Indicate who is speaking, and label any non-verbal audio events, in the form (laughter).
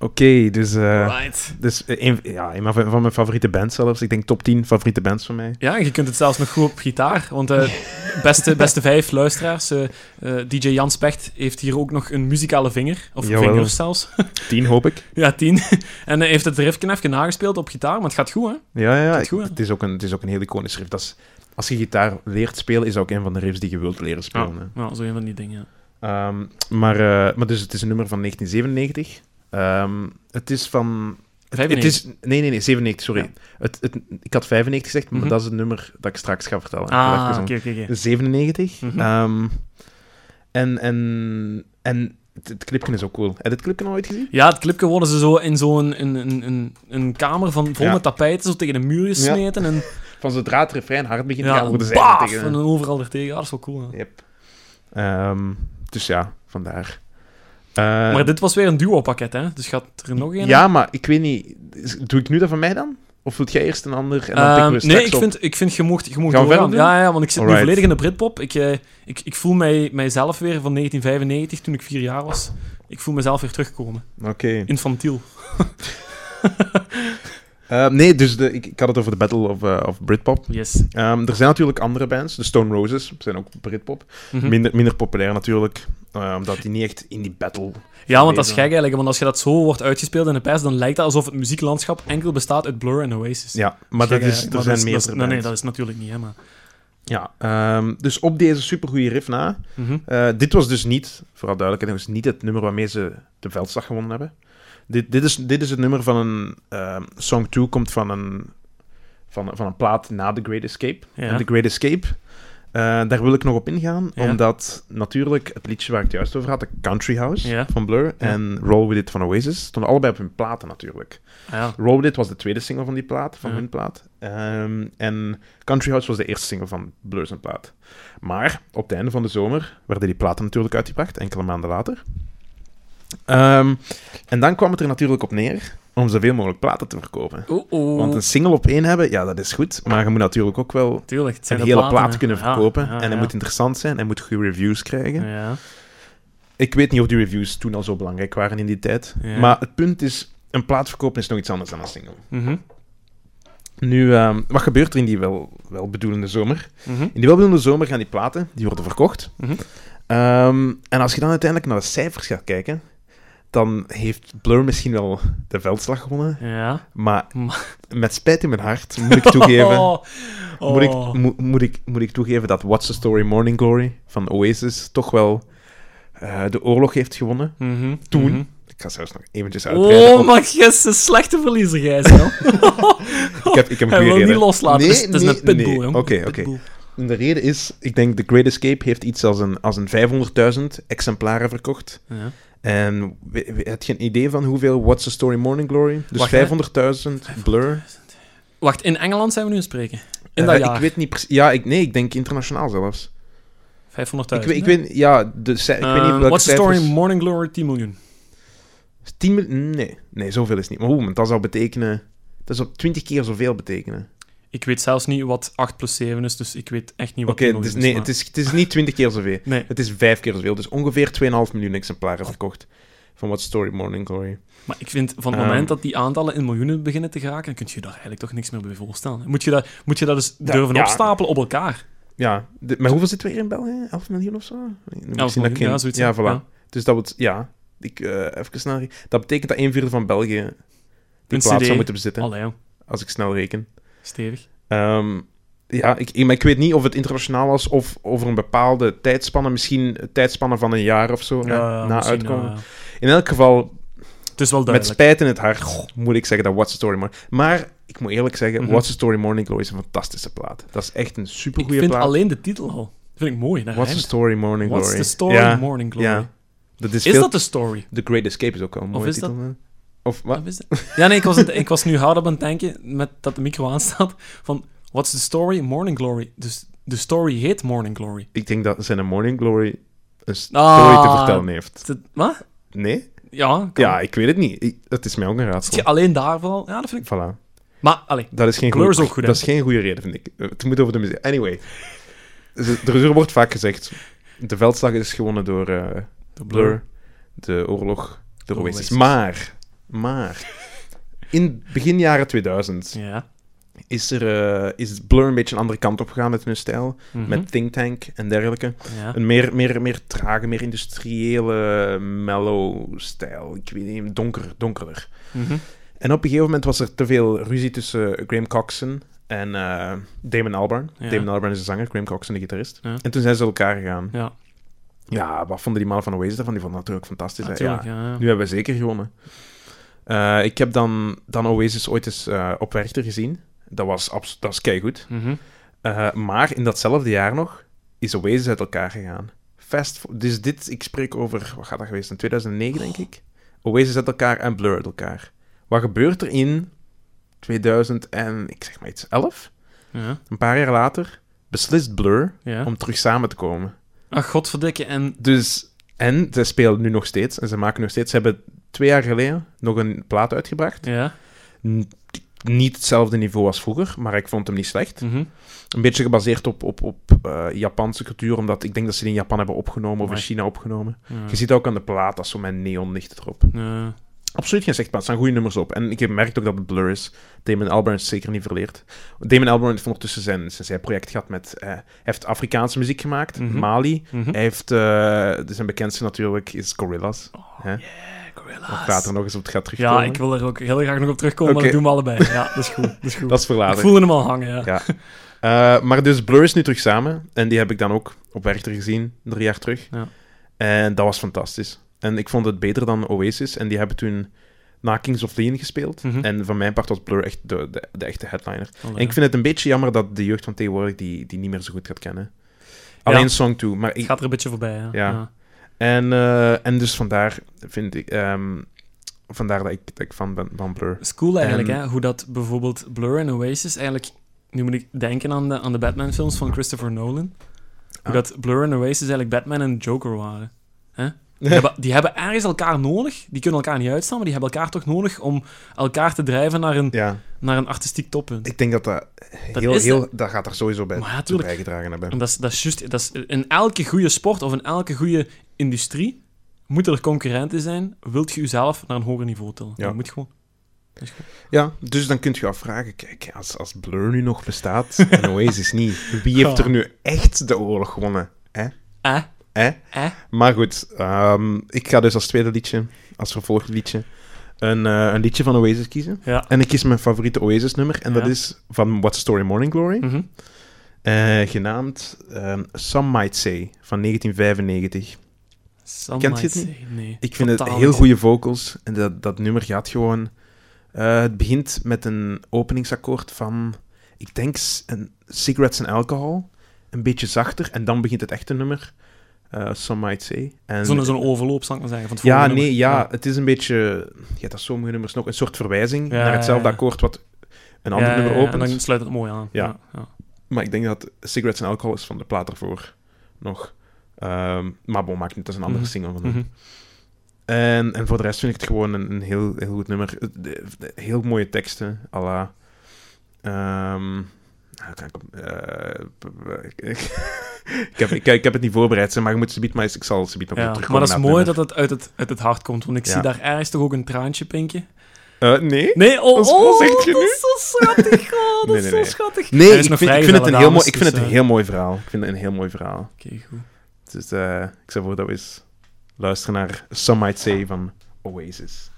Speaker 1: Oké, dus, eh,
Speaker 2: Right.
Speaker 1: dus een, ja, een van, van mijn favoriete bands zelfs. Ik denk top 10 favoriete bands van mij.
Speaker 2: Ja, en je kunt het zelfs nog goed op gitaar. Want de beste, beste vijf luisteraars, eh, eh, DJ Jan Specht heeft hier ook nog een muzikale vinger. Of
Speaker 1: Jawel.
Speaker 2: vingers zelfs. (laughs)
Speaker 1: 10 hoop ik.
Speaker 2: ja, tien. en hij heeft het riffje even nagespeeld op gitaar, maar het gaat goed, hè?
Speaker 1: Ja, ja, ja.
Speaker 2: is goed, hè?
Speaker 1: het, is ook een, het is ook een heel iconisch riff. Dat is, als je gitaar leert spelen, is dat ook een van de riffs die je wilt leren spelen. hè.
Speaker 2: Nou, zo een van die dingen.
Speaker 1: Ehm, maar, eh, maar dus het is een nummer van 1997. Ehm, het is van... Het, het
Speaker 2: 95.
Speaker 1: is, nee, nee, nee, 97, sorry.
Speaker 2: Ja.
Speaker 1: Het, het, ik had 95 gezegd, maar
Speaker 2: Mhm.
Speaker 1: dat is het nummer dat ik straks ga vertellen. Ik wil even
Speaker 2: Ah,
Speaker 1: om-
Speaker 2: oké, oké, oké.
Speaker 1: 97.
Speaker 2: Mhm.
Speaker 1: Ehm, en, en, en het, het clipje is ook cool. Heb je het clipje al ooit gezien?
Speaker 2: Ja, het clipje worden ze zo in zo'n een, een, een, een kamer van, vol
Speaker 1: Ja.
Speaker 2: met tapijten zo tegen de muur gesmeten. En
Speaker 1: Van zodra het refrein hard begint te
Speaker 2: ja,
Speaker 1: gaan, worden zij
Speaker 2: baaf,
Speaker 1: tegen-
Speaker 2: en dan overal er tegen. Ja, dat is wel cool. hè.
Speaker 1: Yep. Ehm, dus ja, vandaar. Eh,
Speaker 2: maar dit was weer een duo-pakket, hè? Dus gaat er nog een?
Speaker 1: Ja, maar ik weet niet. is- Doe ik nu dat van mij dan? Of doet jij eerst een ander en dan pikken
Speaker 2: Ehm,
Speaker 1: we straks
Speaker 2: nee, ik
Speaker 1: op?
Speaker 2: vind, ik vind je mocht, je mocht
Speaker 1: Gaan we
Speaker 2: doorgaan.
Speaker 1: verder doen?
Speaker 2: Ja, ja, want ik zit
Speaker 1: Alright.
Speaker 2: nu volledig in de Britpop. Ik, eh, ik, ik voel mij, mijzelf weer van 1995, toen ik vier jaar was. Ik voel mezelf weer terugkomen.
Speaker 1: Oké.
Speaker 2: Infantiel.
Speaker 1: Ehm, nee, dus de, ik, ik had het over de Battle of, eh, of Britpop.
Speaker 2: Yes.
Speaker 1: Ehm, er zijn natuurlijk andere bands. De Stone Roses zijn ook Britpop.
Speaker 2: Mhm.
Speaker 1: Minder, minder populair natuurlijk, eh, omdat die niet echt in die battle...
Speaker 2: Ja, want dat is
Speaker 1: Wezen.
Speaker 2: gek eigenlijk. Want als je dat zo wordt uitgespeeld in de pers, dan lijkt dat alsof het muzieklandschap enkel bestaat uit Blur en Oasis.
Speaker 1: Ja, maar dat is,
Speaker 2: Gek eigenlijk,
Speaker 1: er
Speaker 2: eh, maar
Speaker 1: zijn
Speaker 2: dat is- dat is-
Speaker 1: meerdere
Speaker 2: Nee,
Speaker 1: bands.
Speaker 2: nee, dat is natuurlijk niet, hè, maar...
Speaker 1: Ja, ehm, dus op deze supergoeie riff na...
Speaker 2: Mhm.
Speaker 1: eh, dit was dus niet, vooral duidelijk, het is niet het nummer waarmee ze de veldslag gewonnen hebben. Dit, dit, is, dit is het nummer van een... ehm, song 2 komt van een, van, van een plaat na The Great Escape.
Speaker 2: Ja.
Speaker 1: En The Great Escape, eh, daar wil ik nog op ingaan,
Speaker 2: Ja.
Speaker 1: omdat natuurlijk het liedje waar ik het juist over had, de Country House
Speaker 2: Ja.
Speaker 1: van Blur
Speaker 2: Ja.
Speaker 1: en Roll With It van Oasis, stonden allebei op hun platen natuurlijk.
Speaker 2: Ah, ja.
Speaker 1: Roll With It was de tweede single van die plaat, van
Speaker 2: Ja.
Speaker 1: hun plaat. Ehm, en Country House was de eerste single van Blur zijn plaat. Maar op het einde van de zomer werden die platen natuurlijk uitgebracht, enkele maanden later. Ehm, en dan kwam het er natuurlijk op neer om zoveel mogelijk platen te verkopen.
Speaker 2: Oh, oh.
Speaker 1: Want een single op één hebben, ja, dat is goed. Maar je moet natuurlijk ook wel
Speaker 2: Tuurlijk, het zijn
Speaker 1: een
Speaker 2: de
Speaker 1: hele
Speaker 2: platen,
Speaker 1: plaat
Speaker 2: hè.
Speaker 1: kunnen
Speaker 2: Ja,
Speaker 1: verkopen.
Speaker 2: ja,
Speaker 1: en hij
Speaker 2: ja.
Speaker 1: moet interessant zijn, hij moet goede reviews krijgen.
Speaker 2: Ja.
Speaker 1: Ik weet niet of die reviews toen al zo belangrijk waren in die tijd.
Speaker 2: Ja.
Speaker 1: Maar het punt is, een plaat verkopen is nog iets anders dan een single.
Speaker 2: Mhm,
Speaker 1: Nu, ehm, wat gebeurt er in die wel, welbedoelende zomer?
Speaker 2: mhm.
Speaker 1: In die welbedoelende zomer gaan die platen, die worden verkocht.
Speaker 2: Mhm.
Speaker 1: Ehm, en als je dan uiteindelijk naar de cijfers gaat kijken, dan heeft Blur misschien wel de veldslag gewonnen.
Speaker 2: Ja.
Speaker 1: Maar
Speaker 2: Ma-
Speaker 1: met spijt in mijn hart moet ik toegeven,
Speaker 2: (laughs) Oh.
Speaker 1: moet, ik,
Speaker 2: Oh.
Speaker 1: mo- moet, ik, moet ik toegeven dat What's the Story Morning Glory van Oasis toch wel eh, de oorlog heeft gewonnen.
Speaker 2: Mhm,
Speaker 1: Toen.
Speaker 2: mhm.
Speaker 1: Ik ga zelfs nog eventjes uitbreiden.
Speaker 2: Oh, maar gijs, een slechte verliezer, gijs. hè.
Speaker 1: (laughs) ik heb, ik heb een goede
Speaker 2: Hij wil
Speaker 1: reden.
Speaker 2: niet loslaten. dus
Speaker 1: Nee,
Speaker 2: het is, het is
Speaker 1: nee,
Speaker 2: een pitbull,
Speaker 1: nee.
Speaker 2: jong.
Speaker 1: Oké,
Speaker 2: Een
Speaker 1: oké.
Speaker 2: pitbull.
Speaker 1: En De reden is, ik denk The Great Escape heeft iets als een, als een 500.000 exemplaren verkocht.
Speaker 2: Ja.
Speaker 1: En we- we- had je een idee van hoeveel What's the Story Morning Glory? Dus
Speaker 2: Wacht, hè.
Speaker 1: 500.000, Blur.
Speaker 2: Wacht, in Engeland zijn we nu aan het spreken. In
Speaker 1: Eh,
Speaker 2: dat jaar.
Speaker 1: Ik weet niet precies. Ja, ik, nee, ik denk internationaal zelfs.
Speaker 2: 500.000.
Speaker 1: Ik, weet- ik
Speaker 2: hè?
Speaker 1: weet, ja, de, ci- ik weet niet
Speaker 2: Ehm,
Speaker 1: welke
Speaker 2: What's the
Speaker 1: cijfers-
Speaker 2: story? Morning Glory 10 miljoen.
Speaker 1: 10 mil- Nee, nee, zoveel is niet. Maar hoe, want dat zou betekenen... Dat zou 20 keer zoveel betekenen.
Speaker 2: Ik weet zelfs niet wat 8 plus 7 is, dus ik weet echt niet wat
Speaker 1: Oké,
Speaker 2: 10
Speaker 1: dus,
Speaker 2: miljoen
Speaker 1: nee,
Speaker 2: is. maar-
Speaker 1: het is, het is niet 20 keer zoveel.
Speaker 2: Nee.
Speaker 1: Het is 5 keer zoveel. Dus ongeveer 2,5 miljoen exemplaren verkocht van What's the Story Morning Glory.
Speaker 2: Maar ik vind, van het
Speaker 1: Ehm.
Speaker 2: moment dat die aantallen in miljoenen beginnen te geraken, dan kun je daar eigenlijk toch niks meer bij voorstellen. Moet je dat, moet je dat dus
Speaker 1: Ja,
Speaker 2: durven
Speaker 1: ja.
Speaker 2: opstapelen op elkaar?
Speaker 1: Ja, de- maar hoeveel zitten we hier in België? 11 miljoen of zo? Ik moet zien dat ik
Speaker 2: miljoen,
Speaker 1: geen-
Speaker 2: ja, zoiets,
Speaker 1: Ja,
Speaker 2: hè?
Speaker 1: voilà.
Speaker 2: Ja.
Speaker 1: Dus dat wordt, ja, ik, eh, even naar, dat betekent dat een vierde van België die
Speaker 2: Een
Speaker 1: plaats
Speaker 2: CD.
Speaker 1: zou moeten bezitten,
Speaker 2: Allee, jong.
Speaker 1: als ik snel reken.
Speaker 2: Stevig.
Speaker 1: Ehm, ja, ik, ik- maar ik weet niet of het internationaal was of over een bepaalde tijdspanne, misschien een tijdspanne van een jaar of zo, hè, na
Speaker 2: Eh, misschien,
Speaker 1: uitkomen.
Speaker 2: ja, ja.
Speaker 1: In elk geval,
Speaker 2: Het is wel
Speaker 1: met
Speaker 2: duidelijk.
Speaker 1: spijt in het hart, moet ik zeggen dat What's the Story Morning... Maar, ik moet eerlijk zeggen,
Speaker 2: Mhm.
Speaker 1: What's the Story Morning Glory is een fantastische plaat. Dat is echt een
Speaker 2: ik
Speaker 1: supergoeie
Speaker 2: vind
Speaker 1: plaat.
Speaker 2: alleen de titel al. vind ik mooi. dat
Speaker 1: What's the
Speaker 2: rijmt.
Speaker 1: Story Morning Glory?
Speaker 2: What's the story?
Speaker 1: Ja.
Speaker 2: Morning Glory.
Speaker 1: Ja. Dat is,
Speaker 2: Is
Speaker 1: veel...
Speaker 2: dat de story?
Speaker 1: The Great Escape is ook al een mooie
Speaker 2: is
Speaker 1: titel. hè? Of wat?
Speaker 2: Wat is dat? Ja, nee, ik was, het- ik was nu hard op aan het denken, met dat de micro aanstaat, van What's the story? Morning Glory. Dus de story heet Morning Glory.
Speaker 1: Ik denk dat zijn Morning Glory een story
Speaker 2: Ah.
Speaker 1: te vertellen heeft.
Speaker 2: Is dat- Wat?
Speaker 1: Nee?
Speaker 2: Ja, kan.
Speaker 1: Ja, ik weet het niet. Ik- het is mij ook een
Speaker 2: Zit
Speaker 1: raadsel.
Speaker 2: je alleen daarvan? al? Ja, dat vind ik...
Speaker 1: Voilà.
Speaker 2: Maar, allee.
Speaker 1: Dat is geen
Speaker 2: Blur
Speaker 1: goeie-
Speaker 2: is ook goed, hè?
Speaker 1: Dat is geen goede reden, vind ik. Het moet over de muziek. Anyway. Ze- Er er wordt vaak gezegd, de veldslag is gewonnen door eh,
Speaker 2: De
Speaker 1: Blur, de oorlog door
Speaker 2: Door
Speaker 1: Oasis.
Speaker 2: Oasis.
Speaker 1: Maar, Maar in begin jaren 2000
Speaker 2: Ja.
Speaker 1: is, er, eh, is Blur een beetje een andere kant op gegaan met hun stijl.
Speaker 2: Mhm.
Speaker 1: Met Think Tank en dergelijke.
Speaker 2: Ja.
Speaker 1: Een meer, meer, meer trage, meer industriële, mellow stijl. Ik weet niet, donker, donkerder.
Speaker 2: Mhm.
Speaker 1: En op een gegeven moment was er te veel ruzie tussen eh, Graham Coxon en eh, Damon Albarn.
Speaker 2: Ja.
Speaker 1: Damon Albarn is de zanger, Graham Coxon de gitarist.
Speaker 2: Ja.
Speaker 1: En toen zijn ze uit elkaar gegaan.
Speaker 2: Ja,
Speaker 1: Ja, wat vonden die mannen van Oasis daarvan? Die vonden dat natuurlijk fantastisch. hè.
Speaker 2: natuurlijk.
Speaker 1: Ja,
Speaker 2: Ja, ja.
Speaker 1: Nu hebben we zeker gewonnen. Eh, ik heb dan, dan Oasis ooit eens eh, op Werchter gezien. Dat was, abs- dat was keigoed.
Speaker 2: Mhm.
Speaker 1: Eh, maar in datzelfde jaar nog is Oasis uit elkaar gegaan. Fast fo- dus dit, ik spreek over, wat gaat dat geweest? In 2009, denk ik. Oasis uit elkaar en Blur uit elkaar. Wat gebeurt er in 2000 en, ik zeg maar iets, 11?
Speaker 2: ja.
Speaker 1: Een paar jaar later beslist Blur
Speaker 2: ja.
Speaker 1: om terug samen te komen.
Speaker 2: Ach, godverdikke. En
Speaker 1: Dus, en ze spelen nu nog steeds, en ze maken nog steeds, ze hebben twee jaar geleden nog een plaat uitgebracht.
Speaker 2: ja.
Speaker 1: N- niet hetzelfde niveau als vroeger, maar ik vond hem niet slecht.
Speaker 2: Mhm.
Speaker 1: Een beetje gebaseerd op, op, op eh, Japanse cultuur, omdat ik denk dat ze die in Japan hebben opgenomen of in
Speaker 2: Amai.
Speaker 1: China opgenomen.
Speaker 2: ja.
Speaker 1: Je ziet ook aan de plaat, dat is zo mijn neonlicht erop.
Speaker 2: Ja.
Speaker 1: Absoluut geen slecht plaat, er staan goede nummers op. En ik heb gemerkt ook dat het Blur is. Damon Albarn is zeker niet verleerd. Damon Albarn heeft ondertussen zijn, zijn, zijn project gehad met... eh, hij heeft Afrikaanse muziek gemaakt,
Speaker 2: Mhm.
Speaker 1: Mali.
Speaker 2: Mhm.
Speaker 1: Hij heeft... eh, zijn bekendste natuurlijk is Gorillaz. hè?
Speaker 2: Eh, gorillas.
Speaker 1: Of later nog eens op het gaat terugkomen.
Speaker 2: Ja, ik wil er ook heel graag nog op terugkomen,
Speaker 1: Oké.
Speaker 2: maar dat doen we allebei. Ja, dat is goed. Dat is goed.
Speaker 1: (laughs) Dat is voor
Speaker 2: ik
Speaker 1: later.
Speaker 2: voelde hem al hangen, ja.
Speaker 1: Ja. Eh, maar dus Blur is nu terug samen. En die heb ik dan ook op Werchter gezien, drie jaar terug.
Speaker 2: Ja.
Speaker 1: En dat was fantastisch. En ik vond het beter dan Oasis. En die hebben toen na Kings of Leon gespeeld.
Speaker 2: Mhm.
Speaker 1: En van mijn part was Blur echt de, de, de echte headliner.
Speaker 2: Allee.
Speaker 1: En ik vind het een beetje jammer dat de jeugd van tegenwoordig die, die niet meer zo goed gaat kennen. Alleen Song 2. Maar
Speaker 2: Het
Speaker 1: ik,
Speaker 2: gaat er een beetje voorbij, hè.
Speaker 1: Ja. en, eh, en dus vandaar vind ik... ehm, vandaar dat ik, dat ik fan ben van Blur.
Speaker 2: Het is cool eigenlijk,
Speaker 1: En-
Speaker 2: hè, hoe dat bijvoorbeeld Blur en Oasis eigenlijk... Nu moet ik denken aan de, aan de Batman-films van Christopher Nolan.
Speaker 1: Ah.
Speaker 2: Hoe dat Blur en Oasis eigenlijk Batman en Joker
Speaker 1: (laughs)
Speaker 2: waren. Hè? Die, hebben, die hebben ergens elkaar nodig. Die kunnen elkaar niet uitstaan, maar die hebben elkaar toch nodig om elkaar te drijven naar een,
Speaker 1: Ja,
Speaker 2: naar een artistiek toppunt.
Speaker 1: ik denk dat dat...
Speaker 2: Dat
Speaker 1: heel,
Speaker 2: is
Speaker 1: heel, dat gaat er sowieso bij,
Speaker 2: Maar ja,
Speaker 1: toe
Speaker 2: tuurlijk.
Speaker 1: bijgedragen hebben.
Speaker 2: En dat is, dat is juist, dat is, in elke goede sport of in elke goede industrie moeten er concurrenten zijn. Wilt je jezelf naar een hoger niveau tillen?
Speaker 1: Ja.
Speaker 2: Dat moet gewoon.
Speaker 1: Ja, dus dan kunt je afvragen, kijk, als, als Blur nu nog (laughs) bestaat en Oasis niet, wie heeft er nu echt de oorlog gewonnen?
Speaker 2: Eh,
Speaker 1: Hè?
Speaker 2: eh.
Speaker 1: Maar goed, ehm, ik ga dus als tweede liedje, als vervolgliedje, een, eh, een liedje van Oasis kiezen.
Speaker 2: Ja.
Speaker 1: En ik kies mijn favoriete Oasis-nummer, en dat
Speaker 2: Ja.
Speaker 1: is van What's the Story Morning Glory,
Speaker 2: Mhm.
Speaker 1: eh, genaamd ehm, Some Might Say, van 1995.
Speaker 2: Some
Speaker 1: Kent je
Speaker 2: might
Speaker 1: het niet?
Speaker 2: say nee.
Speaker 1: Ik vind het
Speaker 2: Totaal
Speaker 1: heel
Speaker 2: niet.
Speaker 1: goede vocals, en dat, dat nummer gaat gewoon... eh, het begint met een openingsakkoord van, ik denk, s- een cigarettes en alcohol. Een beetje zachter. En dan begint het echte nummer. eh, Some Might Say. En,
Speaker 2: Zo'n zo'n overloop, zou ik maar zeggen. Van het
Speaker 1: ja,
Speaker 2: volgende
Speaker 1: nee,
Speaker 2: nummer.
Speaker 1: ja, het is een beetje... Je hebt dat sommige nummers nog. Een soort verwijzing
Speaker 2: Ja,
Speaker 1: naar hetzelfde
Speaker 2: ja, ja.
Speaker 1: akkoord wat een ander
Speaker 2: Ja,
Speaker 1: nummer
Speaker 2: ja, ja,
Speaker 1: opent.
Speaker 2: En dan sluit het mooi aan.
Speaker 1: Ja.
Speaker 2: Ja. ja.
Speaker 1: Maar ik denk dat cigarettes en alcohol is van de plaat ervoor nog. Ehm, maar bon, maakt niet. Dat is een andere
Speaker 2: Mhm.
Speaker 1: single van hem.
Speaker 2: Mhm.
Speaker 1: En, en voor de rest vind ik het gewoon een, een heel, heel goed nummer. Eh, de- de- heel mooie teksten, à la... ehm, nou, kan ik, op- eh, (laughs) p- p- ik, ik heb, ik, ik heb het niet voorbereid, zeg maar je moet ze maar eens, ik zal ze nog
Speaker 2: Ja,
Speaker 1: wel terugkomen.
Speaker 2: Maar dat is
Speaker 1: naar
Speaker 2: mooi
Speaker 1: nummer.
Speaker 2: dat het uit het, uit het hart komt, want ik
Speaker 1: Ja.
Speaker 2: zie daar ergens toch ook een traantje pinken.
Speaker 1: Eh, nee?
Speaker 2: Nee, oh,
Speaker 1: Wat- wat
Speaker 2: oh,
Speaker 1: zeg je
Speaker 2: dat
Speaker 1: nu?
Speaker 2: is zo schattig. Oh, dat
Speaker 1: Nee,
Speaker 2: is
Speaker 1: nee,
Speaker 2: zo
Speaker 1: nee.
Speaker 2: schattig.
Speaker 1: Nee,
Speaker 2: Hij
Speaker 1: ik
Speaker 2: is nog
Speaker 1: vind, ik vind
Speaker 2: vrijgezelle
Speaker 1: het een heel, mooi,
Speaker 2: dames,
Speaker 1: ik vind het
Speaker 2: dus,
Speaker 1: een heel mooi verhaal. Ik vind het een heel mooi verhaal.
Speaker 2: Oké, goed.
Speaker 1: Dus eh, ik zou voor dat we eens luisteren naar Some Might Say van Oasis.